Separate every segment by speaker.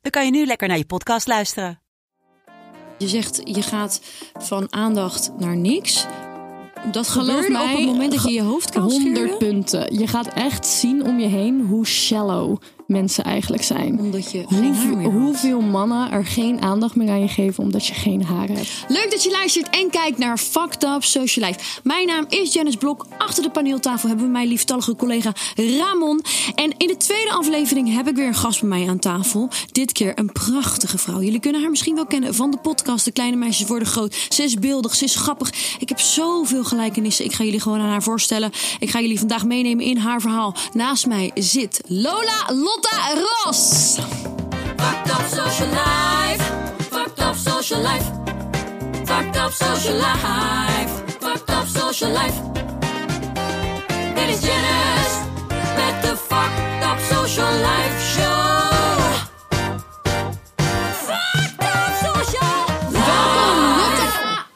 Speaker 1: dan kan je nu lekker naar je podcast luisteren.
Speaker 2: Je zegt, je gaat van aandacht naar niks. Dat
Speaker 3: Geloof
Speaker 2: gebeurde
Speaker 3: mij,
Speaker 2: op het moment dat je je hoofd kan
Speaker 3: 100
Speaker 2: schudden.
Speaker 3: punten. Je gaat echt zien om je heen hoe shallow mensen eigenlijk zijn.
Speaker 2: Omdat je geen haar
Speaker 3: Hoeveel,
Speaker 2: meer had.
Speaker 3: hoeveel mannen er geen aandacht meer aan je geven omdat je geen haren hebt.
Speaker 2: Leuk dat je luistert en kijkt naar Fucked Up Social Life. Mijn naam is Janice Blok. Achter de paneeltafel hebben we mijn lieftallige collega Ramon. En in de tweede aflevering heb ik weer een gast bij mij aan tafel. Dit keer een prachtige vrouw. Jullie kunnen haar misschien wel kennen van de podcast De Kleine Meisjes Worden Groot. Ze is beeldig, ze is grappig. Ik heb zoveel gelijkenissen. Ik ga jullie gewoon aan haar voorstellen. Ik ga jullie vandaag meenemen in haar verhaal. Naast mij zit Lola Lotta Ros. Fucked Up Social Life. Fucked Up Social Life. Fucked up social life. Fucked up social life. Dit is Janice met de Fucked Up Social Life Show. Fucked Up Social Life. Welkom, Lotta.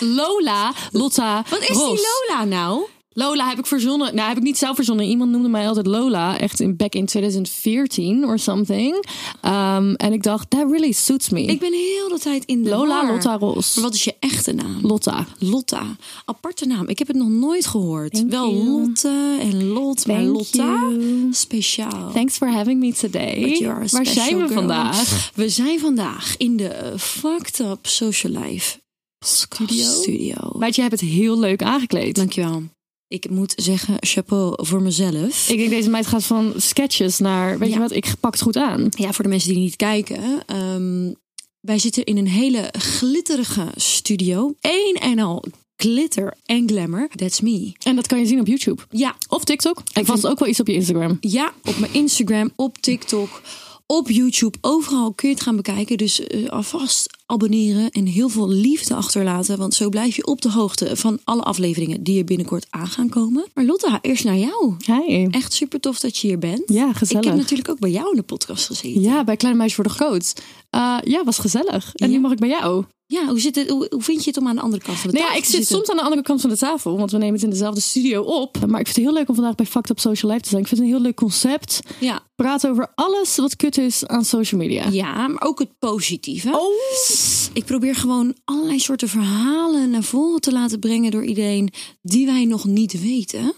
Speaker 3: Lola, Lotta,
Speaker 2: Wat is die Lola nou?
Speaker 3: Lola heb ik verzonnen. Nou, heb ik niet zelf verzonnen. Iemand noemde mij altijd Lola. Echt in back in 2014 or something. Ehm, en ik dacht, that really suits me.
Speaker 2: Ik ben heel de tijd in de
Speaker 3: Lola
Speaker 2: war.
Speaker 3: Lotta Ros.
Speaker 2: Maar wat is je echte naam?
Speaker 3: Lotta.
Speaker 2: Lotta. Aparte naam. Ik heb het nog nooit gehoord. Wel
Speaker 3: you.
Speaker 2: Lotte en Lot, maar
Speaker 3: Thank
Speaker 2: Lotta.
Speaker 3: you.
Speaker 2: Speciaal.
Speaker 3: Thanks for having me today.
Speaker 2: But you are a
Speaker 3: Waar
Speaker 2: special
Speaker 3: zijn we
Speaker 2: girl.
Speaker 3: vandaag?
Speaker 2: We zijn vandaag in de eh, Fucked Up Social Life Studio. Studio.
Speaker 3: Maar je hebt het heel leuk aangekleed.
Speaker 2: Dankjewel. Ik moet zeggen, chapeau voor mezelf.
Speaker 3: Ik denk, deze meid gaat van sketches naar, weet
Speaker 2: Ja.
Speaker 3: je wat, ik pak het goed aan.
Speaker 2: Ja, voor de mensen die niet kijken. ehm, wij zitten in een hele glitterige studio. Eén en al glitter en glamour. That's me.
Speaker 3: En dat kan je zien op YouTube.
Speaker 2: Ja,
Speaker 3: Of TikTok. En vast ook wel iets op je Instagram.
Speaker 2: Ja, op mijn Instagram, op TikTok, op YouTube. Overal kun je het gaan bekijken. Dus eh, alvast abonneren en heel veel liefde achterlaten. Want zo blijf je op de hoogte van alle afleveringen die er binnenkort aan gaan komen. Maar Lotta, eerst naar jou.
Speaker 3: Hi.
Speaker 2: Echt super tof dat je hier bent.
Speaker 3: Ja, gezellig.
Speaker 2: Ik heb natuurlijk ook bij jou in de podcast gezeten.
Speaker 3: Ja, bij Kleine Meisje voor de Groot. Eh, ja, was gezellig. En
Speaker 2: Ja?
Speaker 3: nu mag ik bij jou.
Speaker 2: Ja, hoe, zit het, hoe, hoe vind je het om aan de andere kant van de
Speaker 3: Nou ja,
Speaker 2: tafel
Speaker 3: ik
Speaker 2: te
Speaker 3: zit
Speaker 2: zitten?
Speaker 3: soms aan de andere kant van de tafel, want we nemen het in dezelfde studio op. Maar ik vind het heel leuk om vandaag bij Fact Up Social Life te zijn. Ik vind het een heel leuk concept.
Speaker 2: Ja.
Speaker 3: Praat over alles wat kut is aan social media.
Speaker 2: ja, maar ook het positieve.
Speaker 3: Oh,
Speaker 2: Ik probeer gewoon allerlei soorten verhalen naar voren te laten brengen door iedereen die wij nog niet weten.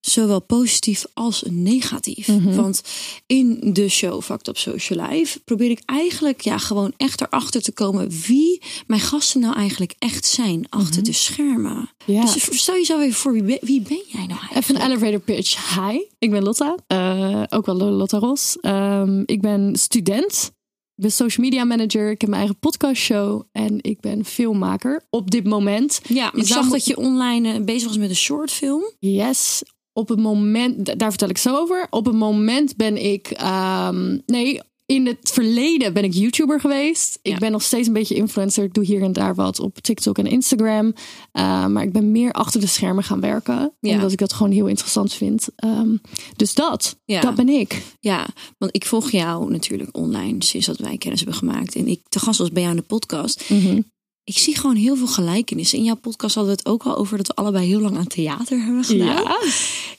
Speaker 2: Zowel positief als negatief. Want in de show Fact Up Social Life probeer ik eigenlijk ja, gewoon echt erachter te komen wie mijn gasten nou eigenlijk echt zijn achter de schermen.
Speaker 3: Ja.
Speaker 2: Dus stel jezelf even voor, wie ben, wie ben jij nou eigenlijk?
Speaker 3: Even een elevator pitch. Hi, ik ben Lotta. eh, ook wel Lotta Ros. Ehm, ik ben student. Ik ben social media manager. Ik heb mijn eigen podcastshow. En ik ben filmmaker op dit moment.
Speaker 2: Ja, maar ik
Speaker 3: zou
Speaker 2: zag
Speaker 3: mo-
Speaker 2: dat je online eh, bezig was met een shortfilm.
Speaker 3: Yes. Op het moment, da- daar vertel ik zo over. Op het moment ben ik, ehm, nee, in het verleden ben ik YouTuber geweest. Ik
Speaker 2: Ja.
Speaker 3: ben nog steeds een beetje influencer. Ik doe hier en daar wat op TikTok en Instagram. Eh, maar ik ben meer achter de schermen gaan werken.
Speaker 2: Ja.
Speaker 3: Omdat ik dat gewoon heel interessant vind. Ehm, dus dat,
Speaker 2: Ja.
Speaker 3: dat ben ik.
Speaker 2: Ja, want ik volg jou natuurlijk online sinds dat wij kennis hebben gemaakt. En ik te gast was bij jou in de podcast.
Speaker 3: Mhm.
Speaker 2: Ik zie gewoon heel veel gelijkenissen. In jouw podcast hadden we het ook al over dat we allebei heel lang aan theater hebben gedaan.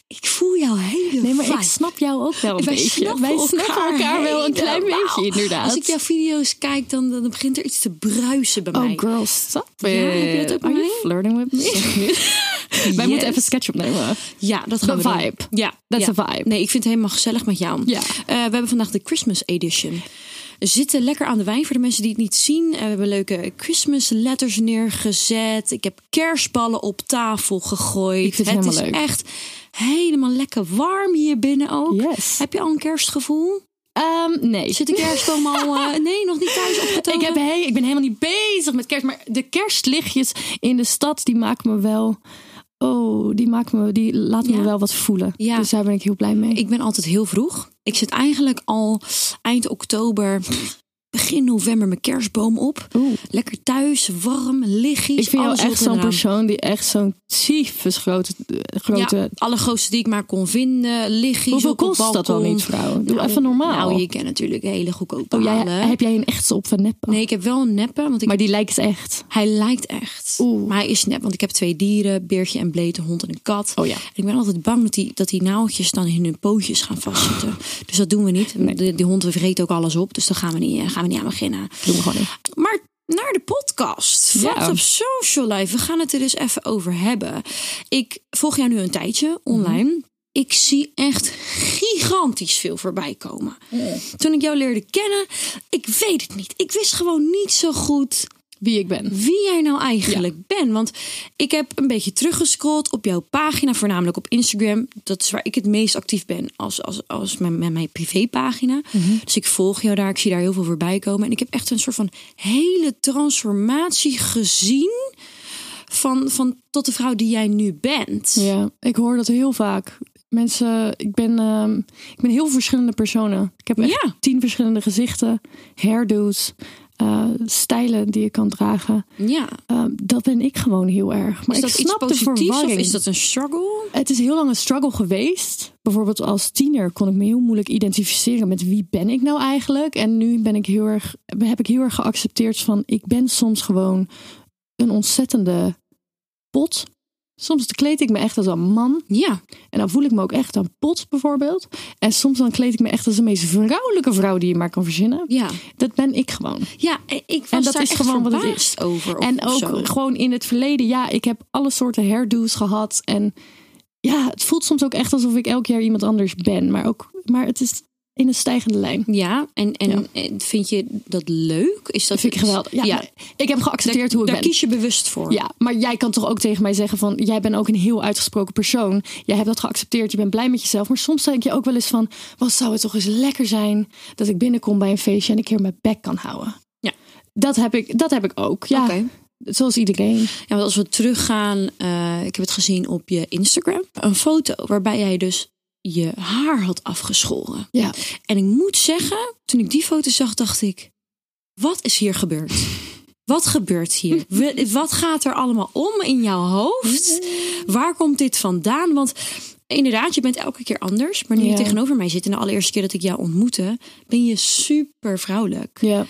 Speaker 2: Ik voel jou hele
Speaker 3: Nou, Nee, maar ik
Speaker 2: vibe.
Speaker 3: snap jou ook wel een
Speaker 2: Wij
Speaker 3: beetje.
Speaker 2: snappen
Speaker 3: Wij
Speaker 2: elkaar
Speaker 3: snappen elkaar wel een klein
Speaker 2: helemaal.
Speaker 3: beetje, inderdaad.
Speaker 2: Als ik jouw video's kijk, dan, dan begint er iets te bruisen bij
Speaker 3: Oh,
Speaker 2: mij.
Speaker 3: girl, stop it.
Speaker 2: heb je dat ook bij
Speaker 3: Are you
Speaker 2: mij?
Speaker 3: flirting with me? Wij moeten
Speaker 2: Yes.
Speaker 3: even sketch opnemen.
Speaker 2: Ja, dat gaan
Speaker 3: The
Speaker 2: we doen.
Speaker 3: vibe.
Speaker 2: Ja,
Speaker 3: That's
Speaker 2: ja.
Speaker 3: a vibe.
Speaker 2: Nee, ik vind het helemaal gezellig met jou.
Speaker 3: Ja.
Speaker 2: Eh, we hebben vandaag de Christmas edition. We zitten lekker aan de wijn voor de mensen die het niet zien. Eh, we hebben leuke Christmas letters neergezet. Ik heb kerstballen op tafel gegooid.
Speaker 3: Ik vind het
Speaker 2: het is
Speaker 3: helemaal leuk.
Speaker 2: echt helemaal lekker warm hier binnen ook.
Speaker 3: Yes.
Speaker 2: Heb je al een kerstgevoel?
Speaker 3: Ehm, nee.
Speaker 2: Zit de kerstboom al? eh, nee, nog niet thuis opgetogen.
Speaker 3: Ik, heb, hey, ik ben helemaal niet bezig met kerst. Maar de kerstlichtjes in de stad, die maken me wel oh, die, maakt me, die laat me
Speaker 2: Ja.
Speaker 3: wel wat voelen.
Speaker 2: Ja.
Speaker 3: Dus daar ben ik heel blij mee.
Speaker 2: Ik ben altijd heel vroeg. Ik zit eigenlijk al eind oktober, begin november mijn kerstboom op.
Speaker 3: Oeh.
Speaker 2: Lekker thuis, warm, lichtjes.
Speaker 3: Ik vind jou
Speaker 2: alles
Speaker 3: echt
Speaker 2: erop en
Speaker 3: zo'n
Speaker 2: eraan.
Speaker 3: persoon die echt zo'n tyfus grote... grote
Speaker 2: Ja, alle gootste die ik maar kon vinden, lichtjes
Speaker 3: Hoeveel
Speaker 2: op het
Speaker 3: kost dat wel
Speaker 2: balkon.
Speaker 3: niet, vrouw? Doe
Speaker 2: Nou,
Speaker 3: even normaal.
Speaker 2: Nou, je kent natuurlijk hele goedkope
Speaker 3: oh, jij,
Speaker 2: halen.
Speaker 3: heb jij een echte op van neppen?
Speaker 2: Nee, ik heb wel een neppe, want ik
Speaker 3: Maar die lijkt echt.
Speaker 2: Hij lijkt echt.
Speaker 3: Oeh.
Speaker 2: Maar hij is nep, want ik heb twee dieren. Beertje en Bleet, een hond en een kat.
Speaker 3: Oh ja.
Speaker 2: En ik ben altijd bang dat die, dat die naaltjes dan in hun pootjes gaan
Speaker 3: Ah.
Speaker 2: vastzitten. Dus dat doen we niet. De, die hond vreet ook alles op, dus daar gaan we niet, eh, gaan we niet aan beginnen.
Speaker 3: Doe me gewoon niet.
Speaker 2: Maar naar de podcast.
Speaker 3: Ja.
Speaker 2: Fucked op social life. We gaan het er eens even over hebben. Ik volg jou nu een tijdje online. Ik zie echt gigantisch veel voorbij komen. Toen ik jou leerde kennen, ik weet het niet. Ik wist gewoon niet zo goed
Speaker 3: Wie ik ben.
Speaker 2: wie jij nou eigenlijk bent. Want ik heb een beetje teruggescrollt op jouw pagina, voornamelijk op Instagram. Dat is waar ik het meest actief ben als, als, als mijn, mijn, mijn privépagina.
Speaker 3: Mhm.
Speaker 2: Dus ik volg jou daar, ik zie daar heel veel voorbij komen. En ik heb echt een soort van hele transformatie gezien van, van tot de vrouw die jij nu bent.
Speaker 3: Ja, ik hoor dat heel vaak. Mensen, ik ben, ehm, ik ben heel verschillende personen. Ik heb echt
Speaker 2: Ja.
Speaker 3: tien verschillende gezichten, hairdo's, eh, stijlen die je kan dragen.
Speaker 2: Ja.
Speaker 3: Ehm, dat ben ik gewoon heel erg. Maar
Speaker 2: Is
Speaker 3: ik
Speaker 2: dat iets
Speaker 3: snap de
Speaker 2: positiefs of
Speaker 3: verwarring.
Speaker 2: is dat een struggle?
Speaker 3: Het is heel lang een struggle geweest. Bijvoorbeeld als tiener kon ik me heel moeilijk identificeren met wie ben ik nou eigenlijk. En nu ben ik heel erg, heb ik heel erg geaccepteerd van ik ben soms gewoon een ontzettende pot. Soms kleed ik me echt als een man.
Speaker 2: Ja.
Speaker 3: En dan voel ik me ook echt een pot bijvoorbeeld. En soms dan kleed ik me echt als de meest vrouwelijke vrouw die je maar kan verzinnen.
Speaker 2: Ja,
Speaker 3: Dat ben ik gewoon.
Speaker 2: ja ik was
Speaker 3: En dat
Speaker 2: daar
Speaker 3: is
Speaker 2: echt
Speaker 3: gewoon wat het
Speaker 2: verbaasd
Speaker 3: is.
Speaker 2: over. of-
Speaker 3: En
Speaker 2: of
Speaker 3: ook
Speaker 2: zo.
Speaker 3: gewoon in het verleden, ja, ik heb alle soorten hairdo's gehad. En ja, het voelt soms ook echt alsof ik elk jaar iemand anders ben. Maar, ook, maar het is in een stijgende lijn.
Speaker 2: Ja, en, en en vind je dat leuk? Is dat
Speaker 3: Dat vind ik geweldig. Ja,
Speaker 2: Ja.
Speaker 3: maar Ik heb geaccepteerd
Speaker 2: Daar,
Speaker 3: hoe ik
Speaker 2: daar
Speaker 3: ben.
Speaker 2: kies je bewust voor.
Speaker 3: Ja, maar jij kan toch ook tegen mij zeggen van... jij bent ook een heel uitgesproken persoon. Jij hebt dat geaccepteerd, je bent blij met jezelf. Maar soms denk je ook wel eens van... wat zou het toch eens lekker zijn dat ik binnenkom bij een feestje... en een keer mijn bek kan houden.
Speaker 2: Ja.
Speaker 3: Dat heb ik, dat heb ik ook, ja.
Speaker 2: Oké.
Speaker 3: Zoals iedereen.
Speaker 2: ja, want als we teruggaan, eh, ik heb het gezien op je Instagram, een foto waarbij jij dus je haar had afgeschoren.
Speaker 3: Ja.
Speaker 2: En ik moet zeggen, toen ik die foto zag, dacht ik: wat is hier gebeurd? Wat gebeurt hier? We- Wat gaat er allemaal om in jouw hoofd? Waar komt dit vandaan? Want inderdaad, je bent elke keer anders. Maar nu je
Speaker 3: Ja.
Speaker 2: tegenover mij zit en de allereerste keer dat ik jou ontmoette, ben je super vrouwelijk.
Speaker 3: ja.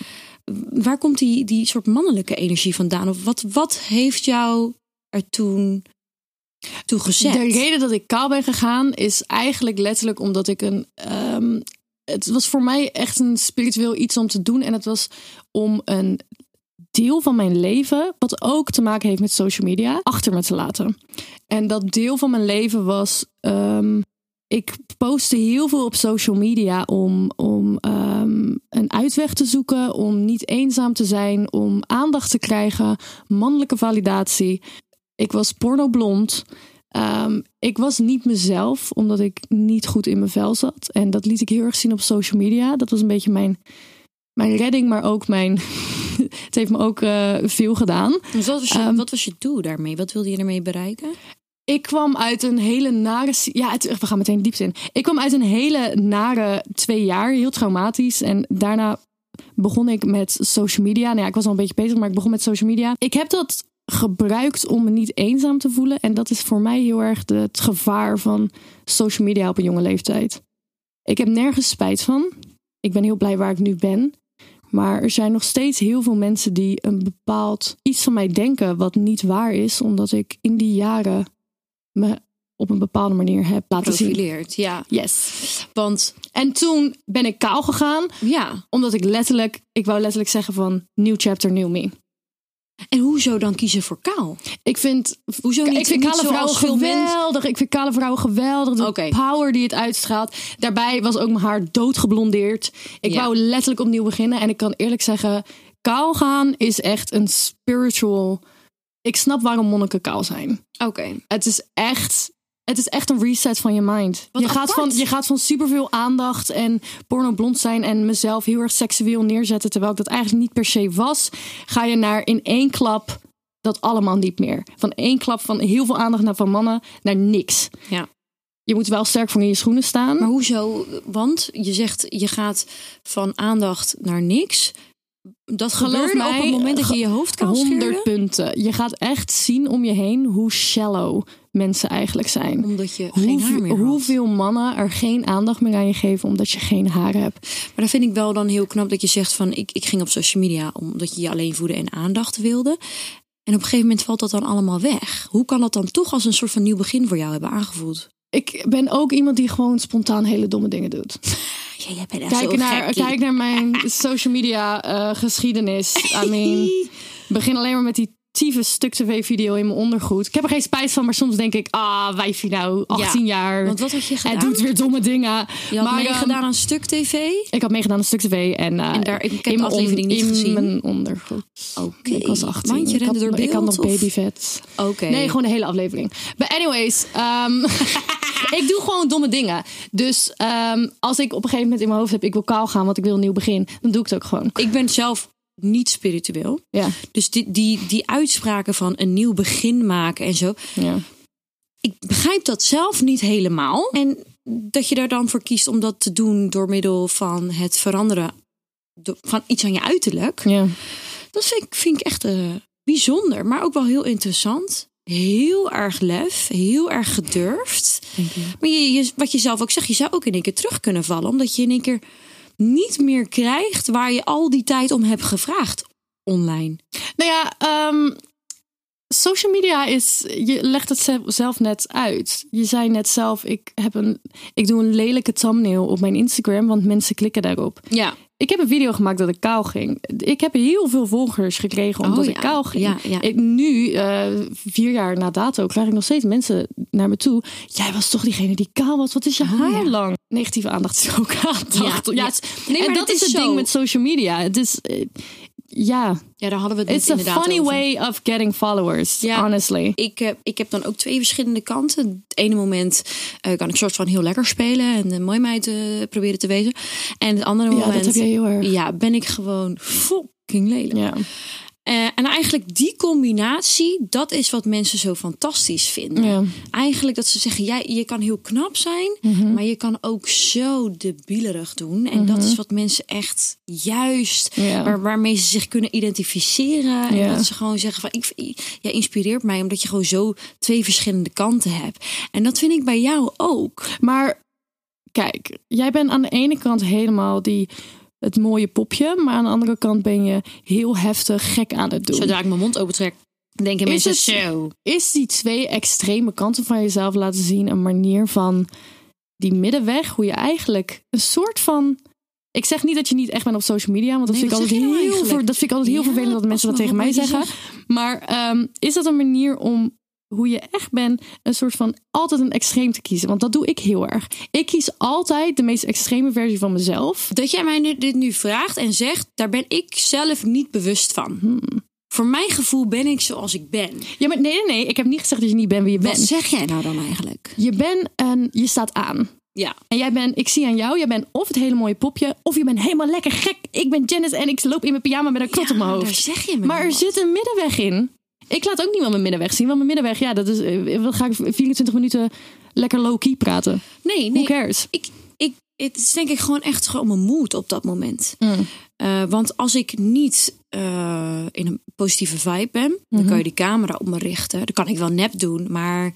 Speaker 2: waar komt die, die soort mannelijke energie vandaan? Of wat, wat heeft jou er toen toe gezet?
Speaker 3: De reden dat ik kaal ben gegaan is eigenlijk letterlijk omdat ik een. ehm, het was voor mij echt een spiritueel iets om te doen. En het was om een deel van mijn leven, wat ook te maken heeft met social media, achter me te laten. En dat deel van mijn leven was. ehm, ik postte heel veel op social media om, om ehm, een uitweg te zoeken, om niet eenzaam te zijn, om aandacht te krijgen, mannelijke validatie. Ik was pornoblond. Ehm, ik was niet mezelf, omdat ik niet goed in mijn vel zat. En dat liet ik heel erg zien op social media. Dat was een beetje mijn, mijn redding, maar ook mijn. het heeft me ook eh, veel gedaan.
Speaker 2: Dus wat, was je,
Speaker 3: Ehm,
Speaker 2: wat was je doel daarmee? Wat wilde je ermee bereiken?
Speaker 3: Ik kwam uit een hele nare. si- Ja, het- we gaan meteen diep in. Ik kwam uit een hele nare twee jaar, heel traumatisch. En daarna begon ik met social media. Nou ja, ik was al een beetje bezig, maar ik begon met social media. Ik heb dat gebruikt om me niet eenzaam te voelen. En dat is voor mij heel erg de- het gevaar van social media op een jonge leeftijd. Ik heb nergens spijt van. Ik ben heel blij waar ik nu ben. Maar er zijn nog steeds heel veel mensen die een bepaald iets van mij denken wat niet waar is, omdat ik in die jaren me op een bepaalde manier heb laten zien.
Speaker 2: Profileerd, ja.
Speaker 3: Yes.
Speaker 2: Want
Speaker 3: En toen ben ik kaal gegaan,
Speaker 2: ja.
Speaker 3: omdat ik letterlijk, ik wou letterlijk zeggen van new chapter, new me.
Speaker 2: En hoezo dan kiezen voor kaal?
Speaker 3: Ik vind,
Speaker 2: Hoezo niet,
Speaker 3: ik vind
Speaker 2: niet
Speaker 3: kale vrouwen
Speaker 2: zoals veel mensen?
Speaker 3: geweldig. Ik vind kale vrouwen geweldig. De
Speaker 2: Oké.
Speaker 3: power die het uitstraalt. Daarbij was ook mijn haar doodgeblondeerd. Ik
Speaker 2: Ja.
Speaker 3: wou letterlijk opnieuw beginnen. En ik kan eerlijk zeggen, kaal gaan is echt een spiritual... Ik snap waarom monniken kaal zijn.
Speaker 2: Oké.
Speaker 3: Het is echt. Het is echt een reset van je mind.
Speaker 2: Wat
Speaker 3: je, gaat
Speaker 2: apart.
Speaker 3: van, je gaat van superveel aandacht en pornoblond zijn en mezelf heel erg seksueel neerzetten, terwijl ik dat eigenlijk niet per se was. Ga je naar in één klap dat allemaal niet meer. Van één klap van heel veel aandacht naar van mannen naar niks.
Speaker 2: Ja.
Speaker 3: Je moet wel sterk voor in je schoenen staan.
Speaker 2: Maar hoezo? Want je zegt, je gaat van aandacht naar niks. Dat
Speaker 3: Geloof
Speaker 2: gebeurde
Speaker 3: mij,
Speaker 2: op het moment dat je je hoofd kan
Speaker 3: 100
Speaker 2: scheren.
Speaker 3: punten. Je gaat echt zien om je heen hoe shallow mensen eigenlijk zijn.
Speaker 2: Omdat je geen haar
Speaker 3: Hoeveel,
Speaker 2: meer had.
Speaker 3: hoeveel mannen er geen aandacht meer aan je geven omdat je geen haar hebt.
Speaker 2: Maar dat vind ik wel dan heel knap dat je zegt van... Ik, ik ging op social media omdat je je alleen voeden en aandacht wilde. En op een gegeven moment valt dat dan allemaal weg. Hoe kan dat dan toch als een soort van nieuw begin voor jou hebben aangevoeld?
Speaker 3: Ik ben ook iemand die gewoon spontaan hele domme dingen doet.
Speaker 2: Ja, jij bent echt
Speaker 3: Kijk
Speaker 2: zo'n
Speaker 3: naar,
Speaker 2: gekkie.
Speaker 3: kijk naar mijn social media eh, geschiedenis. I mean, begin alleen maar met die tieve stuk tv-video in mijn ondergoed. Ik heb er geen spijt van, maar soms denk ik... Ah, wijfie nou, 18 jaar.
Speaker 2: Want wat had je
Speaker 3: Het
Speaker 2: gedaan?
Speaker 3: doet weer domme dingen.
Speaker 2: Je had
Speaker 3: maar, ehm,
Speaker 2: meegedaan aan Stuk TV?
Speaker 3: Ik had meegedaan aan Stuk TV en, eh,
Speaker 2: En daar- ik heb
Speaker 3: in
Speaker 2: de
Speaker 3: mijn on-
Speaker 2: aflevering niet
Speaker 3: in
Speaker 2: gezien.
Speaker 3: mijn ondergoed.
Speaker 2: Oké.
Speaker 3: Ik was 18.
Speaker 2: Mandje
Speaker 3: ik, had,
Speaker 2: rende door beeld?
Speaker 3: ik had nog
Speaker 2: of-
Speaker 3: babyvet.
Speaker 2: Oké.
Speaker 3: Nee, gewoon de hele aflevering. Maar anyways, ehm, ik doe gewoon domme dingen. Dus ehm, als ik op een gegeven moment in mijn hoofd heb... ik wil kaal gaan, want ik wil een nieuw begin... dan doe ik het ook gewoon.
Speaker 2: Ik ben zelf niet spiritueel.
Speaker 3: Ja,
Speaker 2: Dus die, die, die uitspraken van een nieuw begin maken en zo.
Speaker 3: ja.
Speaker 2: Ik begrijp dat zelf niet helemaal. En dat je daar dan voor kiest om dat te doen door middel van het veranderen do- van iets aan je uiterlijk.
Speaker 3: ja.
Speaker 2: Dat vind ik, vind ik echt eh, bijzonder, maar ook wel heel interessant. Heel erg lef, heel erg gedurfd. Maar je, je- wat je zelf ook zegt, je zou ook in één keer terug kunnen vallen. Omdat je in één keer niet meer krijgt waar je al die tijd om hebt gevraagd online.
Speaker 3: Nou ja, ehm, social media is. Je legt het zelf- zelf net uit. Je zei net zelf: ik, heb een, ik doe een lelijke thumbnail op mijn Instagram, want mensen klikken daarop.
Speaker 2: Ja,
Speaker 3: Ik heb een video gemaakt dat ik kaal ging. Ik heb heel veel volgers gekregen omdat
Speaker 2: Oh,
Speaker 3: ik
Speaker 2: ja.
Speaker 3: kaal ging.
Speaker 2: Ja, ja.
Speaker 3: Ik, nu, eh, vier jaar na dato, krijg ik nog steeds mensen naar me toe. Jij was toch diegene die kaal was? Wat is je haar lang? Negatieve aandacht is ook aandacht.
Speaker 2: Ja,
Speaker 3: Ja,
Speaker 2: ja.
Speaker 3: het is-
Speaker 2: Nee,
Speaker 3: en
Speaker 2: maar
Speaker 3: dat
Speaker 2: het
Speaker 3: is
Speaker 2: is
Speaker 3: het
Speaker 2: zo.
Speaker 3: ding met social media. Het is, eh, ja,
Speaker 2: ja daar hadden we het net
Speaker 3: It's a
Speaker 2: inderdaad
Speaker 3: funny
Speaker 2: over.
Speaker 3: way of getting followers,
Speaker 2: Ja.
Speaker 3: honestly.
Speaker 2: Ik heb, ik heb dan ook twee verschillende kanten. Het ene moment eh, kan ik soort van heel lekker spelen en een mooi meid eh, proberen te wezen. En het andere
Speaker 3: Ja, dat
Speaker 2: moment
Speaker 3: heb jij heel erg.
Speaker 2: ja, ben ik gewoon fucking lelijk.
Speaker 3: Ja.
Speaker 2: Eh, en eigenlijk die combinatie, dat is wat mensen zo fantastisch vinden.
Speaker 3: Ja.
Speaker 2: Eigenlijk dat ze zeggen, jij, je kan heel knap zijn,
Speaker 3: Mhm.
Speaker 2: maar je kan ook zo debielerig doen. En dat is wat mensen echt juist,
Speaker 3: Ja.
Speaker 2: waar, waarmee ze zich kunnen identificeren. En
Speaker 3: Ja.
Speaker 2: dat ze gewoon zeggen van, ik, jij inspireert mij omdat je gewoon zo twee verschillende kanten hebt. En dat vind ik bij jou ook.
Speaker 3: Maar kijk, jij bent aan de ene kant helemaal die, het mooie popje. Maar aan de andere kant ben je heel heftig gek aan het doen.
Speaker 2: Zodra ik mijn mond opentrek, denken
Speaker 3: Is
Speaker 2: mensen
Speaker 3: het-
Speaker 2: zo.
Speaker 3: Is die twee extreme kanten van jezelf laten zien een manier van die middenweg? Hoe je eigenlijk een soort van... Ik zeg niet dat je niet echt bent op social media, want dat,
Speaker 2: Nee,
Speaker 3: vind, ik
Speaker 2: wat
Speaker 3: altijd
Speaker 2: zeg je nou
Speaker 3: heel
Speaker 2: eigenlijk?
Speaker 3: ver- dat vind ik altijd heel
Speaker 2: Ja,
Speaker 3: vervelend dat
Speaker 2: pas
Speaker 3: mensen dat
Speaker 2: maar
Speaker 3: tegen
Speaker 2: op
Speaker 3: mij
Speaker 2: wat je
Speaker 3: zeggen. Maar ehm, is dat een manier om hoe je echt bent, een soort van altijd een extreem te kiezen? Want dat doe ik heel erg. Ik kies altijd de meest extreme versie van mezelf.
Speaker 2: Dat jij mij nu- dit nu vraagt en zegt, daar ben ik zelf niet bewust van. Hmm. Voor mijn gevoel ben ik zoals ik ben.
Speaker 3: Ja, maar nee, nee, nee. Ik heb niet gezegd dat je niet bent wie je
Speaker 2: Wat
Speaker 3: bent.
Speaker 2: zeg jij nou dan eigenlijk?
Speaker 3: Je bent en je staat aan.
Speaker 2: Ja.
Speaker 3: En jij bent, ik zie aan jou, jij bent of het hele mooie popje, of je bent helemaal lekker gek. Ik ben Janice en ik loop in mijn pyjama met een klot
Speaker 2: Ja,
Speaker 3: op mijn hoofd.
Speaker 2: daar zeg je me
Speaker 3: maar
Speaker 2: nou
Speaker 3: er
Speaker 2: wat.
Speaker 3: zit een middenweg in. Ik laat ook niemand mijn middenweg zien, want mijn middenweg, ja, dat is, eh, wat ga ik 24 minuten lekker low-key praten.
Speaker 2: Nee, nee.
Speaker 3: Who cares?
Speaker 2: Ik, ik, het is denk ik gewoon echt gewoon mijn moed op dat moment. Eh, want als ik niet eh, in een positieve vibe ben, dan kan je die camera op me richten. Dat kan ik wel nep doen, maar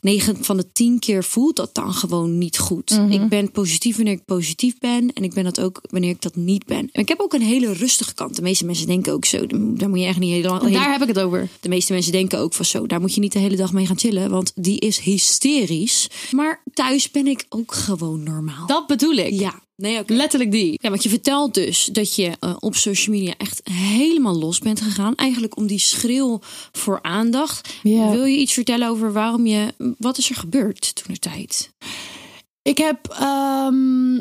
Speaker 2: 9 van de 10 keer voelt dat dan gewoon niet goed. Ik ben positief wanneer ik positief ben en ik ben dat ook wanneer ik dat niet ben. En ik heb ook een hele rustige kant. De meeste mensen denken ook zo, daar moet je echt niet heel lang.
Speaker 3: Daar heb ik het over.
Speaker 2: De meeste mensen denken ook van zo, daar moet je niet de hele dag mee gaan chillen, want die is hysterisch. Maar thuis ben ik ook gewoon normaal.
Speaker 3: Dat bedoel ik.
Speaker 2: Ja, nee, oké.
Speaker 3: Letterlijk die.
Speaker 2: Ja, want je vertelt dus dat je eh, op social media echt helemaal los bent gegaan. Eigenlijk om die schreeuw voor aandacht.
Speaker 3: Ja.
Speaker 2: Wil je iets vertellen over waarom je. Wat is er gebeurd toen de tijd?
Speaker 3: Ik heb, ehm,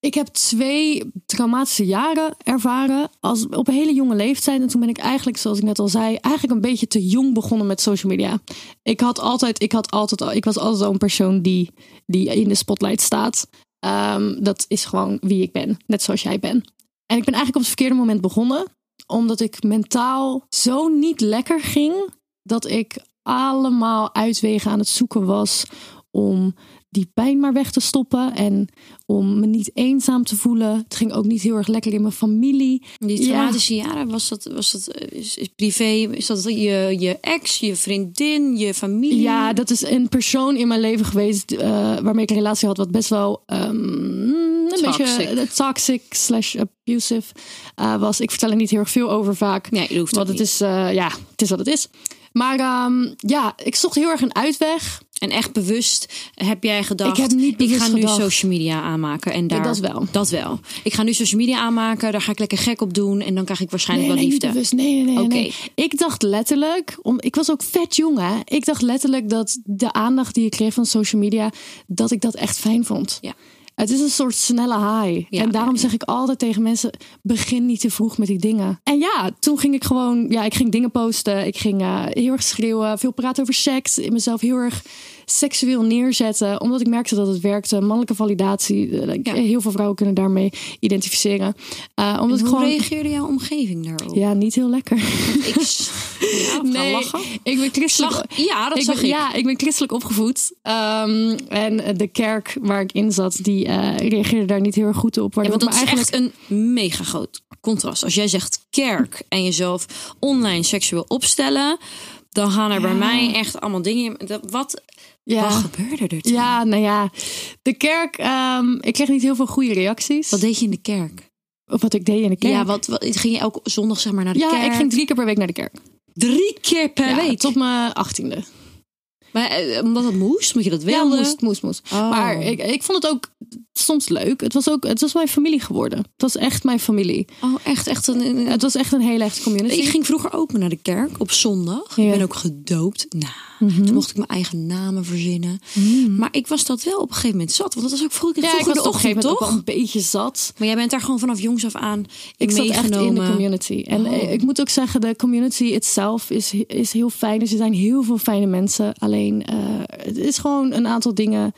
Speaker 3: ik heb twee traumatische jaren ervaren als, op een hele jonge leeftijd. En toen ben ik eigenlijk, zoals ik net al zei, eigenlijk een beetje te jong begonnen met social media. Ik, had altijd, ik, had altijd, al- ik was altijd al een persoon die, die in de spotlight staat. Ehm, dat is gewoon wie ik ben, net zoals jij bent. En ik ben eigenlijk op het verkeerde moment begonnen. omdat ik mentaal zo niet lekker ging dat ik allemaal uitwegen aan het zoeken was om die pijn maar weg te stoppen en om me niet eenzaam te voelen. Het ging ook niet heel erg lekker in mijn familie.
Speaker 2: Die
Speaker 3: Ja.
Speaker 2: traumatische jaren, was dat, was dat eh, is, is privé? Is dat je, je ex, je vriendin, je familie?
Speaker 3: Ja, dat is een persoon in mijn leven geweest eh, waarmee ik een relatie had, wat best wel ehm, een
Speaker 2: Toxic.
Speaker 3: beetje eh, toxic slash abusive eh, was. Ik vertel er niet heel erg veel over vaak.
Speaker 2: Nee, je hoeft
Speaker 3: want
Speaker 2: het
Speaker 3: het is, eh, ja, het is wat het is. Maar ehm, ja, ik zocht heel erg een uitweg.
Speaker 2: En echt bewust heb jij gedacht...
Speaker 3: Ik heb niet bewust
Speaker 2: ik ga
Speaker 3: gedacht.
Speaker 2: nu social media aanmaken. En daar,
Speaker 3: dat wel.
Speaker 2: Dat wel. Ik ga nu social media aanmaken, daar ga ik lekker gek op doen... en dan krijg ik waarschijnlijk wel
Speaker 3: niet
Speaker 2: liefde.
Speaker 3: bewust. Nee, nee, nee.
Speaker 2: Oké.
Speaker 3: nee. Ik dacht letterlijk, om, ik was ook vet jong hè. Ik dacht letterlijk dat de aandacht die ik kreeg van social media, dat ik dat echt fijn vond.
Speaker 2: Ja.
Speaker 3: Het is een soort snelle high.
Speaker 2: Ja,
Speaker 3: en daarom
Speaker 2: ja,
Speaker 3: zeg ik altijd tegen mensen: begin niet te vroeg met die dingen. En ja, toen ging ik gewoon, ja, ik ging dingen posten. Ik ging eh, heel erg schreeuwen, veel praten over seks. In mezelf heel erg seksueel neerzetten, omdat ik merkte dat het werkte. Mannelijke validatie, eh,
Speaker 2: Ja.
Speaker 3: heel veel vrouwen kunnen daarmee identificeren. Eh, omdat ik
Speaker 2: Hoe
Speaker 3: gewoon.
Speaker 2: reageerde jouw omgeving daarop?
Speaker 3: Ja, niet heel lekker.
Speaker 2: Ik s- ja, we gaan lachen.
Speaker 3: ik ben christelijk.
Speaker 2: Slag- ja, dat
Speaker 3: ik
Speaker 2: zag
Speaker 3: ben,
Speaker 2: ik.
Speaker 3: Ja, ik ben christelijk opgevoed. Ehm, en de kerk waar ik in zat, die eh, reageerde daar niet heel erg goed op.
Speaker 2: Ja,
Speaker 3: waardoor
Speaker 2: want dat
Speaker 3: ik me
Speaker 2: is
Speaker 3: eigenlijk
Speaker 2: echt een mega groot contrast. Als jij zegt kerk en jezelf online seksueel opstellen... dan gaan er bij mij echt allemaal dingen... in- dat- Wat,
Speaker 3: Ja.
Speaker 2: wat gebeurde er toen?
Speaker 3: Ja, nou ja. De kerk, ehm, ik kreeg niet heel veel goede reacties.
Speaker 2: Wat deed je in de kerk?
Speaker 3: op wat ik deed in de kerk.
Speaker 2: Ja, wat, wat, ging je elke zondag zeg maar naar de
Speaker 3: Ja,
Speaker 2: kerk?
Speaker 3: ik ging drie keer per week naar de kerk.
Speaker 2: drie keer per
Speaker 3: ja,
Speaker 2: week.
Speaker 3: Tot mijn achttiende.
Speaker 2: Maar eh, omdat het moest, omdat je dat
Speaker 3: Ja,
Speaker 2: wilde.
Speaker 3: moest, moest, moest.
Speaker 2: Oh.
Speaker 3: Maar ik, ik vond het ook soms leuk. Het was ook, het was mijn familie geworden. Het was echt mijn familie.
Speaker 2: Oh, echt, echt. Een, een-
Speaker 3: Het was echt een hele echte community.
Speaker 2: Ik ging vroeger ook naar de kerk op zondag.
Speaker 3: Dus Ja. Mhm.
Speaker 2: Ik ben ook gedoopt. Nou, toen mocht ik mijn eigen namen verzinnen. Maar ik was dat wel op een gegeven moment zat. Want dat was ook vroeger,
Speaker 3: ja, ik
Speaker 2: vroeger
Speaker 3: was
Speaker 2: de
Speaker 3: op een gegeven
Speaker 2: ochtend,
Speaker 3: moment ook
Speaker 2: toch?
Speaker 3: wel een beetje zat.
Speaker 2: Maar jij bent daar gewoon vanaf jongs af aan
Speaker 3: Ik zat echt in de
Speaker 2: meegenomen.
Speaker 3: community. En eh, ik moet ook zeggen, de community itself is, is heel fijn. Dus er zijn heel veel fijne mensen. Alleen, eh, het is gewoon een aantal dingen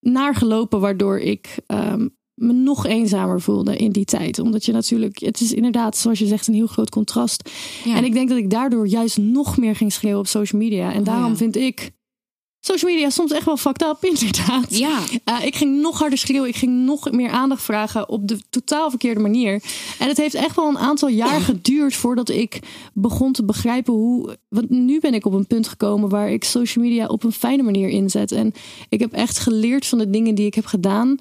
Speaker 3: naargelopen... waardoor ik ehm, me nog eenzamer voelde in die tijd. Omdat je natuurlijk... Het is inderdaad, zoals je zegt, een heel groot contrast.
Speaker 2: Ja.
Speaker 3: En ik denk dat ik daardoor juist nog meer ging schreeuwen op social media. En daarom
Speaker 2: ja.
Speaker 3: vind ik social media soms echt wel fucked up, inderdaad.
Speaker 2: Ja.
Speaker 3: Eh, ik ging nog harder schreeuwen. Ik ging nog meer aandacht vragen op de totaal verkeerde manier. En het heeft echt wel een aantal jaar geduurd voordat ik begon te begrijpen hoe. Want nu ben ik op een punt gekomen waar ik social media op een fijne manier inzet. En ik heb echt geleerd van de dingen die ik heb gedaan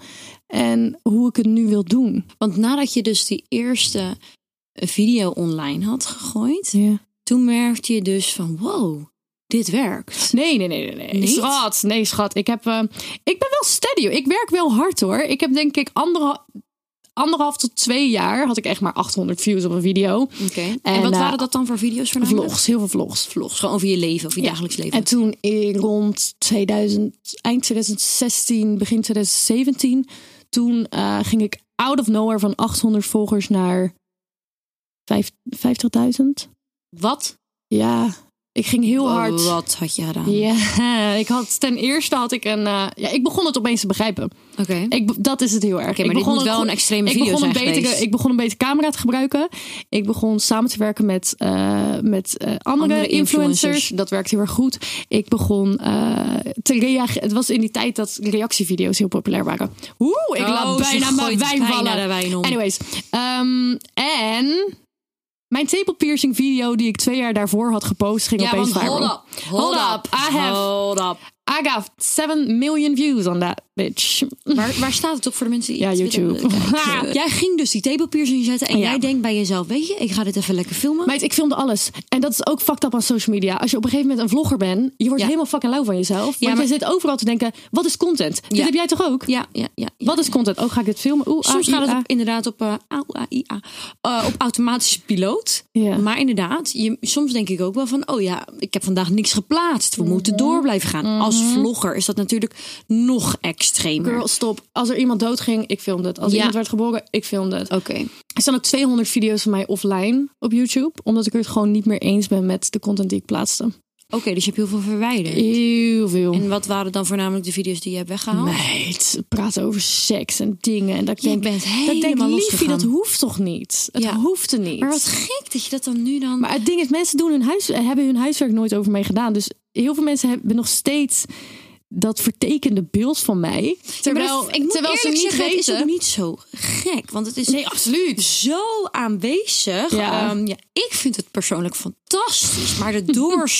Speaker 3: en hoe ik het nu wil doen.
Speaker 2: Want nadat je dus die eerste eh, video online had gegooid... toen merkte je dus van wow, dit werkt.
Speaker 3: Nee, nee, nee, nee. nee.
Speaker 2: Niet?
Speaker 3: Schat, nee, schat. Ik, heb, eh, ik ben wel steady. hoor. Ik werk wel hard hoor. Ik heb denk ik anderha- anderhalf tot twee jaar had ik echt maar 800 views op een video.
Speaker 2: Oké. En,
Speaker 3: En,
Speaker 2: wat
Speaker 3: eh,
Speaker 2: waren dat dan voor video's voornamelijk?
Speaker 3: Vlogs, heel veel vlogs.
Speaker 2: Vlogs, gewoon over je leven, over je dagelijks leven.
Speaker 3: En toen in rond 2000, eind 2016, begin 2017, toen eh, ging ik out of nowhere van 800 volgers naar vijf- 50.000.
Speaker 2: wat?
Speaker 3: Ja, ik ging heel hard.
Speaker 2: Wat had je gedaan?
Speaker 3: Ja, ik had ten eerste had ik een. eh, ja, ik begon het opeens te begrijpen.
Speaker 2: Oké.
Speaker 3: Ik, be- dat is het heel erg.
Speaker 2: maar
Speaker 3: ik
Speaker 2: dit
Speaker 3: begon
Speaker 2: moet wel
Speaker 3: go-
Speaker 2: een extreme
Speaker 3: ik
Speaker 2: video
Speaker 3: begon een
Speaker 2: zijn
Speaker 3: betere,
Speaker 2: geweest.
Speaker 3: Ik begon een betere camera te gebruiken. Ik begon samen te werken met, eh, met eh, andere,
Speaker 2: Andere
Speaker 3: influencers.
Speaker 2: influencers.
Speaker 3: Dat werkte heel erg goed. Ik begon eh, te reageren. Het was in die tijd dat reactievideo's heel populair waren. Oeh, ik
Speaker 2: Oh,
Speaker 3: laat
Speaker 2: ze
Speaker 3: bijna mijn
Speaker 2: gooit
Speaker 3: wijn
Speaker 2: bijna
Speaker 3: vallen.
Speaker 2: de wijn om.
Speaker 3: Anyways. ehm, en... Mijn tepel piercing video die ik twee jaar daarvoor had gepost ging
Speaker 2: ja,
Speaker 3: opeens
Speaker 2: want
Speaker 3: viral.
Speaker 2: hold up. Hold up.
Speaker 3: I have
Speaker 2: Hold up.
Speaker 3: I got 7 million views on that bitch.
Speaker 2: Waar, waar staat het op voor de mensen die
Speaker 3: Ja,
Speaker 2: iets
Speaker 3: YouTube.
Speaker 2: willen kijken? jij ging dus die tepelpiercing zetten en
Speaker 3: Ja.
Speaker 2: jij denkt bij jezelf, weet je, ik ga dit even lekker filmen.
Speaker 3: Meid, ik filmde alles. En dat is ook fucked up aan social media. Als je op een gegeven moment een vlogger bent, je wordt
Speaker 2: Ja.
Speaker 3: helemaal fucking lauw van jezelf. want
Speaker 2: maar-
Speaker 3: je zit overal te denken, wat is content? Dit
Speaker 2: Ja.
Speaker 3: heb jij toch ook?
Speaker 2: ja, ja, ja. ja.
Speaker 3: Wat is content? Oh, ga ik dit filmen? Oeh,
Speaker 2: Soms
Speaker 3: ah,
Speaker 2: gaat het
Speaker 3: ah.
Speaker 2: op, inderdaad op, eh, au, ah, i, ah, eh, op automatische piloot.
Speaker 3: Ja.
Speaker 2: Maar inderdaad, je, soms denk ik ook wel van... oh ja, ik heb vandaag niks geplaatst. We moeten door blijven gaan. Als vlogger is dat natuurlijk nog extremer.
Speaker 3: Girl, stop. Als er iemand doodging, ik filmde het. Als
Speaker 2: Ja.
Speaker 3: iemand werd geboren, ik filmde het.
Speaker 2: Oké.
Speaker 3: Er staan ook 200 video's van mij offline op YouTube. Omdat ik het gewoon niet meer eens ben met de content die ik plaatste.
Speaker 2: Oké, dus je hebt heel veel verwijderd.
Speaker 3: Heel veel.
Speaker 2: En wat waren dan voornamelijk de video's die je hebt weggehaald?
Speaker 3: Meid, praten over seks en dingen. En dat ik
Speaker 2: Oh. Je
Speaker 3: denk,
Speaker 2: bent
Speaker 3: dat ik denk,
Speaker 2: helemaal
Speaker 3: liefie,
Speaker 2: losgegaan.
Speaker 3: dat hoeft toch niet? Het
Speaker 2: Ja.
Speaker 3: hoeft er niet.
Speaker 2: Maar wat gek dat je dat dan nu dan...
Speaker 3: Maar het ding is, mensen doen hun huis, hebben hun huiswerk nooit over mij gedaan. Dus heel veel mensen hebben nog steeds dat vertekende beeld van mij.
Speaker 2: Ja, maar
Speaker 3: Terwijl,
Speaker 2: dat- ik moet
Speaker 3: terwijl ze
Speaker 2: eerlijk
Speaker 3: niet
Speaker 2: zeggen,
Speaker 3: weten.
Speaker 2: het is ook niet zo gek. Want het is
Speaker 3: Nee, absoluut.
Speaker 2: zo aanwezig.
Speaker 3: Ja.
Speaker 2: Ehm, ja, ik vind het persoonlijk fantastisch. Maar de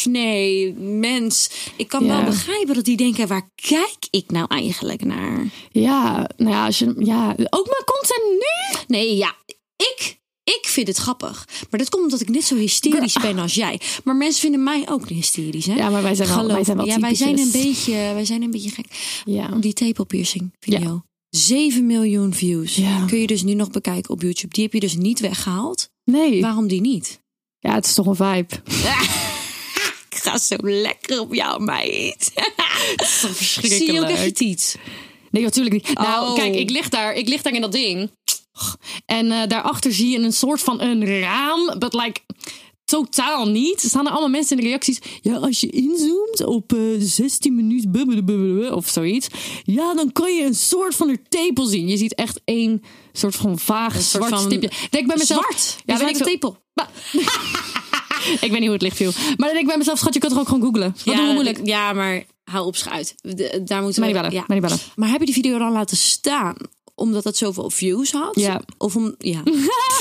Speaker 2: doorsnee mens. Ik kan
Speaker 3: Ja.
Speaker 2: wel begrijpen dat die denken: waar kijk ik nou eigenlijk naar?
Speaker 3: Ja, nou ja, als je, ja, ook mijn content nu.
Speaker 2: Nee, ja, ik. Ik vind het grappig. Maar dat komt omdat ik net zo hysterisch ben als jij. Maar mensen vinden mij ook hysterisch, hè?
Speaker 3: Ja, maar wij zijn wel-
Speaker 2: Geloof
Speaker 3: wij zijn wel
Speaker 2: me. Ja, wij zijn, een
Speaker 3: typetjes.
Speaker 2: beetje, wij zijn een beetje gek.
Speaker 3: Ja.
Speaker 2: Die tepelpiercing video. 7 miljoen views.
Speaker 3: Ja.
Speaker 2: Kun je dus nu nog bekijken op YouTube. Die heb je dus niet weggehaald.
Speaker 3: Nee.
Speaker 2: Waarom die niet?
Speaker 3: Ja, het is toch een vibe.
Speaker 2: Ik ga zo lekker op jou, meid.
Speaker 3: Verschrikkelijk.
Speaker 2: Zie je ook echt je tiet?
Speaker 3: Nee, natuurlijk niet. Nou,
Speaker 2: Oh.
Speaker 3: kijk, ik lig, daar, ik lig daar in dat ding. En eh, daarachter zie je een soort van een raam. But like, totaal niet. Er staan er allemaal mensen in de reacties. Ja, als je inzoomt op eh, 16 minuten bubbelen, bubbelen of zoiets. Ja, dan kan je een soort van een tepel zien. Je ziet echt één soort van vaag
Speaker 2: soort
Speaker 3: zwart
Speaker 2: van
Speaker 3: stipje. Denk bij mezelf.
Speaker 2: Zwart?
Speaker 3: Ja,
Speaker 2: Ja,
Speaker 3: weet
Speaker 2: zwarte
Speaker 3: ik veel.
Speaker 2: tepel.
Speaker 3: Ik weet niet hoe het licht viel. Maar dan denk ik bij mezelf, schat, je kan toch ook gewoon googlen. Wat doen we moeilijk?
Speaker 2: Ja, maar hou op schuit. De- daar moeten
Speaker 3: Maar
Speaker 2: we...
Speaker 3: niet bellen,
Speaker 2: ja.
Speaker 3: maar niet bellen.
Speaker 2: Maar heb je die video dan laten staan? Omdat dat zoveel views had?
Speaker 3: Ja.
Speaker 2: Of om... Ja.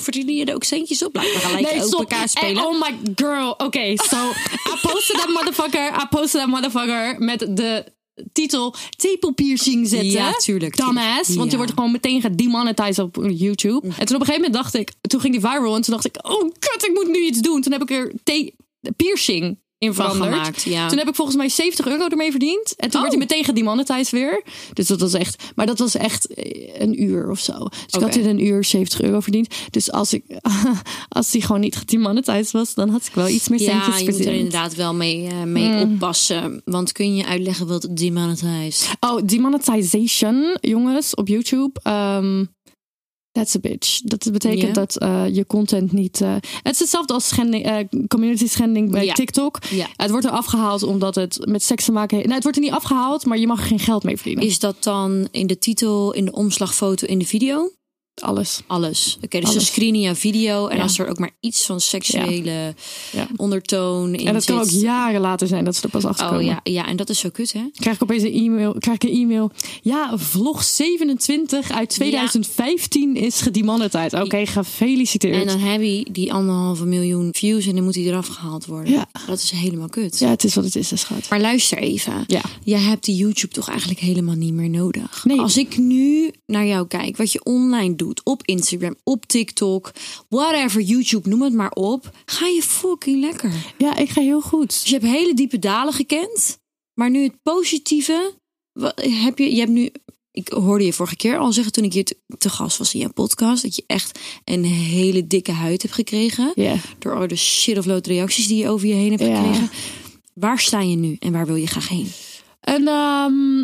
Speaker 2: Verdienen je er ook centjes op? Laten we gelijk
Speaker 3: Nee,
Speaker 2: ook
Speaker 3: stop.
Speaker 2: elkaar spelen.
Speaker 3: Eh, oh my girl. Oké, so I posted that motherfucker. I posted that motherfucker met de titel tepelpiercing zetten.
Speaker 2: Ja, tuurlijk, tuurlijk.
Speaker 3: Dumbass. Want je
Speaker 2: Ja. Mm.
Speaker 3: wordt gewoon meteen gedemonetized op YouTube. En toen op een gegeven moment dacht ik, toen ging die viral en toen dacht ik, oh kut, ik moet nu iets doen. Toen heb ik er te- piercing
Speaker 2: Van
Speaker 3: in veranderd.
Speaker 2: gemaakt, ja.
Speaker 3: Toen heb ik volgens mij 70 euro ermee verdiend. En toen
Speaker 2: Oh.
Speaker 3: werd hij meteen gedemonetized weer. Dus dat was echt, maar dat was echt eh, een uur of zo. Dus ik
Speaker 2: Oké.
Speaker 3: had in een uur 70 euro verdiend. Dus als ik, als die gewoon niet gedemonetized was, dan had ik wel iets meer
Speaker 2: ja,
Speaker 3: centjes Hmm.
Speaker 2: je moet er
Speaker 3: verdiend.
Speaker 2: inderdaad wel mee, eh, mee oppassen. Want kun je uitleggen wat demonetized?
Speaker 3: Oh, demonetization, jongens, op YouTube. ehm, that's a bitch. Dat betekent
Speaker 2: Ja.
Speaker 3: dat eh, je content niet... eh, het is hetzelfde als schending, eh, community schending bij
Speaker 2: Ja.
Speaker 3: TikTok.
Speaker 2: Ja.
Speaker 3: Het wordt er afgehaald omdat het met seks te maken heeft. Nou, het wordt er niet afgehaald, maar je mag er geen geld mee verdienen.
Speaker 2: Is dat dan in de titel, in de omslagfoto, in de video?
Speaker 3: alles.
Speaker 2: Alles. Oké, dus
Speaker 3: Alles.
Speaker 2: dan screenen je video. En
Speaker 3: Ja.
Speaker 2: als er ook maar iets van seksuele
Speaker 3: Ja.
Speaker 2: ondertoon in
Speaker 3: En dat kan ook
Speaker 2: zit-
Speaker 3: jaren later zijn dat ze er pas achter
Speaker 2: Oh
Speaker 3: komen.
Speaker 2: ja, ja, en dat is zo kut, hè?
Speaker 3: Krijg ik opeens een e-mail. Krijg ik een e-mail. Ja, vlog 27 uit 2015 is gedemonetized. Oké,
Speaker 2: En
Speaker 3: gefeliciteerd.
Speaker 2: dan heb je die anderhalve miljoen views en dan moet die eraf gehaald worden.
Speaker 3: Ja.
Speaker 2: Dat is helemaal kut.
Speaker 3: Ja, het is wat het is, hè, schat.
Speaker 2: Maar luister even.
Speaker 3: Ja.
Speaker 2: Jij hebt die YouTube toch eigenlijk helemaal niet meer nodig.
Speaker 3: Nee.
Speaker 2: Als ik nu naar jou kijk, wat je online doet, op Instagram, op TikTok, whatever, YouTube, noem het maar op, ga je fucking lekker.
Speaker 3: Ja, ik ga heel goed.
Speaker 2: Dus je hebt hele diepe dalen gekend, maar nu het positieve, wa- heb je, je hebt nu, ik hoorde je vorige keer al zeggen toen ik hier te, te gast was in jouw podcast, dat je echt een hele dikke huid hebt gekregen.
Speaker 3: Ja.
Speaker 2: Door al de shit of lood reacties die je over je heen hebt
Speaker 3: Ja.
Speaker 2: gekregen. Waar sta je nu en waar wil je graag heen?
Speaker 3: En ehm,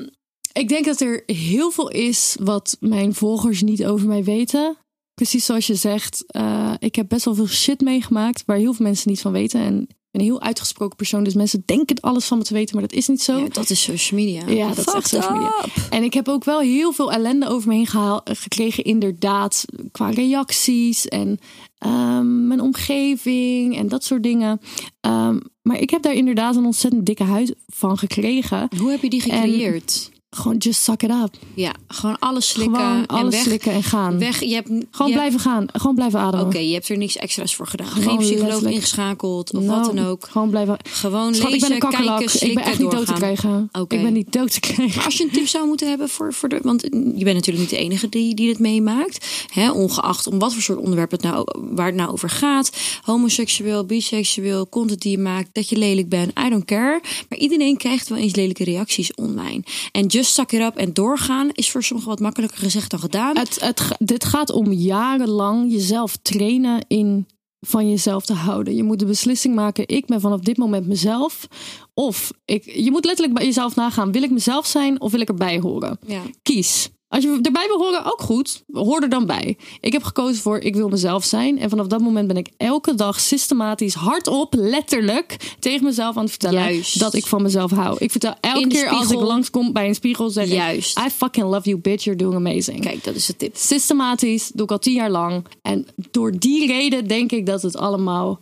Speaker 3: ik denk dat er heel veel is wat mijn volgers niet over mij weten. Precies zoals je zegt, eh, ik heb best wel veel shit meegemaakt waar heel veel mensen niet van weten. En ik ben een heel uitgesproken persoon, dus mensen denken alles van me te weten, maar dat is niet zo.
Speaker 2: Ja, dat is social media.
Speaker 3: Oh. Ja, dat is echt
Speaker 2: Fucked
Speaker 3: social media.
Speaker 2: up.
Speaker 3: En ik heb ook wel heel veel ellende over me heen gehaal- eh, gekregen, inderdaad. Qua reacties en ehm, mijn omgeving en dat soort dingen. Ehm, maar ik heb daar inderdaad een ontzettend dikke huid van gekregen.
Speaker 2: Hoe heb je die gecreëerd?
Speaker 3: Gewoon just suck it up.
Speaker 2: Ja, gewoon alles slikken
Speaker 3: Gewoon
Speaker 2: en
Speaker 3: alles
Speaker 2: weg.
Speaker 3: slikken en gaan.
Speaker 2: Weg, je hebt
Speaker 3: Gewoon
Speaker 2: je hebt-
Speaker 3: blijven gaan. Gewoon blijven ademen.
Speaker 2: Oké, je hebt er niks extra's voor gedaan. Geen
Speaker 3: Gewoon
Speaker 2: psycholoog
Speaker 3: letterlijk.
Speaker 2: ingeschakeld of
Speaker 3: Nou,
Speaker 2: wat dan ook.
Speaker 3: Gewoon blijven.
Speaker 2: Gewoon
Speaker 3: Schat, ik ben
Speaker 2: lezen,
Speaker 3: een kakkerlak.
Speaker 2: kijken,
Speaker 3: ik
Speaker 2: slikken,
Speaker 3: ben echt niet dood te
Speaker 2: doorgaan.
Speaker 3: krijgen.
Speaker 2: Oké.
Speaker 3: Ik ben niet dood te krijgen.
Speaker 2: Maar als je een tip zou moeten hebben voor, voor de. Want je bent natuurlijk niet de enige die, die dit meemaakt. Hè, ongeacht om wat voor soort onderwerp het nou, waar het nou over gaat. Homoseksueel, biseksueel, content die je maakt, dat je lelijk bent. I don't care. Maar iedereen krijgt wel eens lelijke reacties online. En just suck it up en doorgaan is voor sommigen wat makkelijker gezegd dan gedaan.
Speaker 3: Het, het, ga- dit gaat om jarenlang jezelf trainen in van jezelf te houden. Je moet de beslissing maken: ik ben vanaf dit moment mezelf. Of ik, je moet letterlijk bij jezelf nagaan: wil ik mezelf zijn of wil ik erbij horen?
Speaker 2: Ja.
Speaker 3: Kies. Als je erbij wil horen, ook goed. Hoor er dan bij. Ik heb gekozen voor ik wil mezelf zijn. En vanaf dat moment ben ik elke dag systematisch hardop, letterlijk, tegen mezelf aan het vertellen
Speaker 2: Juist.
Speaker 3: dat ik van mezelf hou. Ik vertel elke
Speaker 2: In de
Speaker 3: keer als ik
Speaker 2: spiegel.
Speaker 3: langskom bij een spiegel, zeg
Speaker 2: Juist.
Speaker 3: ik, I fucking love you bitch, you're doing amazing.
Speaker 2: Kijk, dat is de tip.
Speaker 3: Systematisch, doe ik al tien jaar lang. En door die reden denk ik dat het allemaal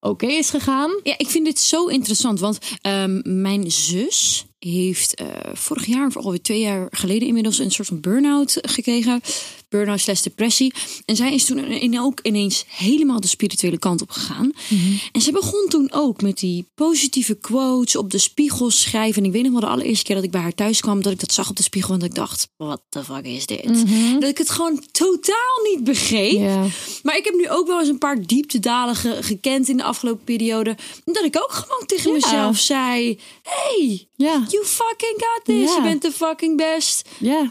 Speaker 3: oké is gegaan.
Speaker 2: Ja, ik vind dit zo interessant. Want ehm, mijn zus heeft eh, vorig jaar, of alweer twee jaar geleden inmiddels, een soort van burn-out gekregen. Burn-out slash depressie. En zij is toen in, ook ineens helemaal de spirituele kant op gegaan. En ze begon toen ook met die positieve quotes op de spiegel schrijven. En ik weet nog wel de allereerste keer dat ik bij haar thuis kwam, dat ik dat zag op de spiegel. En dat ik dacht, what the fuck is dit? Dat ik het gewoon totaal niet begreep.
Speaker 3: Ja.
Speaker 2: Maar ik heb nu ook wel eens een paar dieptedalen ge- gekend in de afgelopen periode. Dat ik ook gewoon tegen
Speaker 3: Ja.
Speaker 2: mezelf zei: Hey,
Speaker 3: Ja.
Speaker 2: you fucking got this.
Speaker 3: Ja.
Speaker 2: Je bent de fucking best.
Speaker 3: Ja,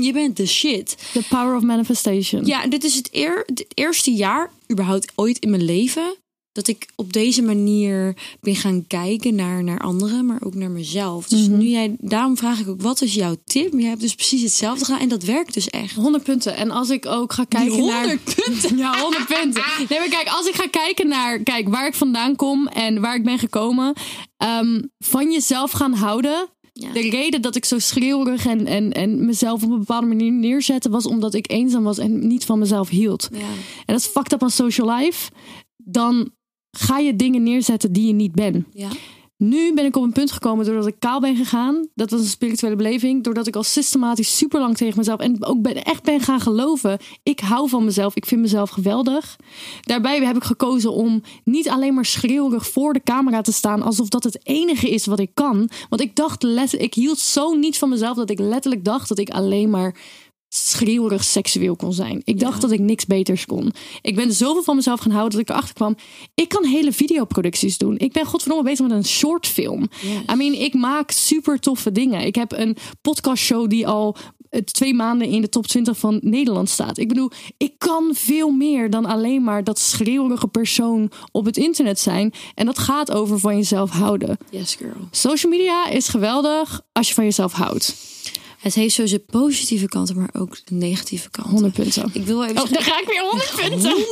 Speaker 2: Je bent de shit.
Speaker 3: the power of manifestation.
Speaker 2: Ja, en dit is het, eer, het eerste jaar, überhaupt ooit in mijn leven, dat ik op deze manier ben gaan kijken naar, naar anderen, maar ook naar mezelf. Dus nu jij, daarom vraag ik ook: wat is jouw tip? Maar jij hebt dus precies hetzelfde gedaan en dat werkt dus echt.
Speaker 3: 100 punten. En als ik ook ga kijken naar...
Speaker 2: 100 punten.
Speaker 3: Ja, 100 punten. Nee, maar kijk, als ik ga kijken naar kijk, waar ik vandaan kom en waar ik ben gekomen. ehm, van jezelf gaan houden.
Speaker 2: Ja.
Speaker 3: De reden dat ik zo schreeuwerig en, en, en mezelf op een bepaalde manier neerzette... was omdat ik eenzaam was en niet van mezelf hield.
Speaker 2: Ja.
Speaker 3: En dat is fucked up aan social life. Dan ga je dingen neerzetten die je niet bent.
Speaker 2: Ja.
Speaker 3: Nu ben ik op een punt gekomen doordat ik kaal ben gegaan. Dat was een spirituele beleving. Doordat ik al systematisch super lang tegen mezelf en ook ben, echt ben gaan geloven. Ik hou van mezelf. Ik vind mezelf geweldig. Daarbij heb ik gekozen om niet alleen maar schreeuwerig voor de camera te staan. Alsof dat het enige is wat ik kan. Want ik dacht letterlijk, ik hield zo niet van mezelf dat ik letterlijk dacht dat ik alleen maar schreeuwerig seksueel kon zijn. Ik dacht dat ik niks beters kon. Ik ben zoveel van mezelf gaan houden dat ik erachter kwam... ik kan hele videoproducties doen. Ik ben godverdomme bezig met een shortfilm. I mean, ik maak super toffe dingen. Ik heb een podcastshow die al eh, twee maanden in de top 20 van Nederland staat. Ik bedoel, ik kan veel meer dan alleen maar... dat schreeuwerige persoon op het internet zijn. En dat gaat over van jezelf houden.
Speaker 2: Yes, girl.
Speaker 3: Social media is geweldig als je van jezelf houdt.
Speaker 2: Het heeft zo zijn positieve kanten, maar ook de negatieve kanten.
Speaker 3: 100 punten.
Speaker 2: Ik wil even
Speaker 3: Oh,
Speaker 2: zeggen-
Speaker 3: daar ga ik weer 100 punten.
Speaker 2: 100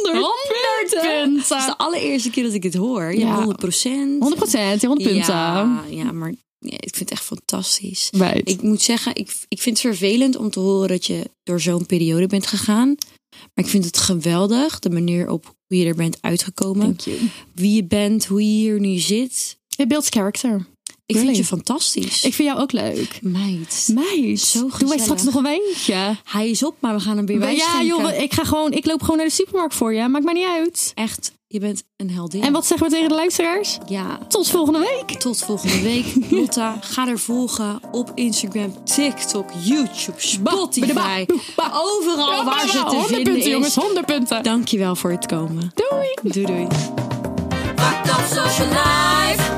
Speaker 3: punten.
Speaker 2: Dat is de allereerste keer dat ik dit hoor. Ja,
Speaker 3: Ja.
Speaker 2: 100 procent.
Speaker 3: 100 procent, 100 punten.
Speaker 2: Ja, ja, maar ja, ik vind het echt fantastisch.
Speaker 3: Right.
Speaker 2: Ik moet zeggen, ik, ik vind het vervelend om te horen dat je door zo'n periode bent gegaan. Maar ik vind het geweldig, de manier op hoe je er bent uitgekomen.
Speaker 3: Thank you.
Speaker 2: Wie je bent, hoe je hier nu zit.
Speaker 3: Je beeldt character.
Speaker 2: Ik
Speaker 3: Really?
Speaker 2: vind je fantastisch.
Speaker 3: Ik vind jou ook leuk.
Speaker 2: Meid,
Speaker 3: Meid,
Speaker 2: Zo
Speaker 3: doe wij
Speaker 2: gezellig.
Speaker 3: straks nog een wijntje?
Speaker 2: hij is op, maar we gaan hem weer bij
Speaker 3: Ja joh, ik, ga gewoon, ik loop gewoon naar de supermarkt voor je. Maakt mij niet uit.
Speaker 2: Echt, je bent een heldin.
Speaker 3: En wat zeggen we tegen de luisteraars?
Speaker 2: Ja,
Speaker 3: Tot volgende week.
Speaker 2: tot volgende week. Lotta, ga er volgen op Instagram, TikTok, YouTube, Spotify.
Speaker 3: Ba, ba, ba.
Speaker 2: Overal Oh, waar ze te
Speaker 3: 100
Speaker 2: vinden
Speaker 3: punten
Speaker 2: is.
Speaker 3: jongens, 100 punten.
Speaker 2: Dankjewel voor het komen.
Speaker 3: Doei.
Speaker 2: Doei doei. Fucked up social life.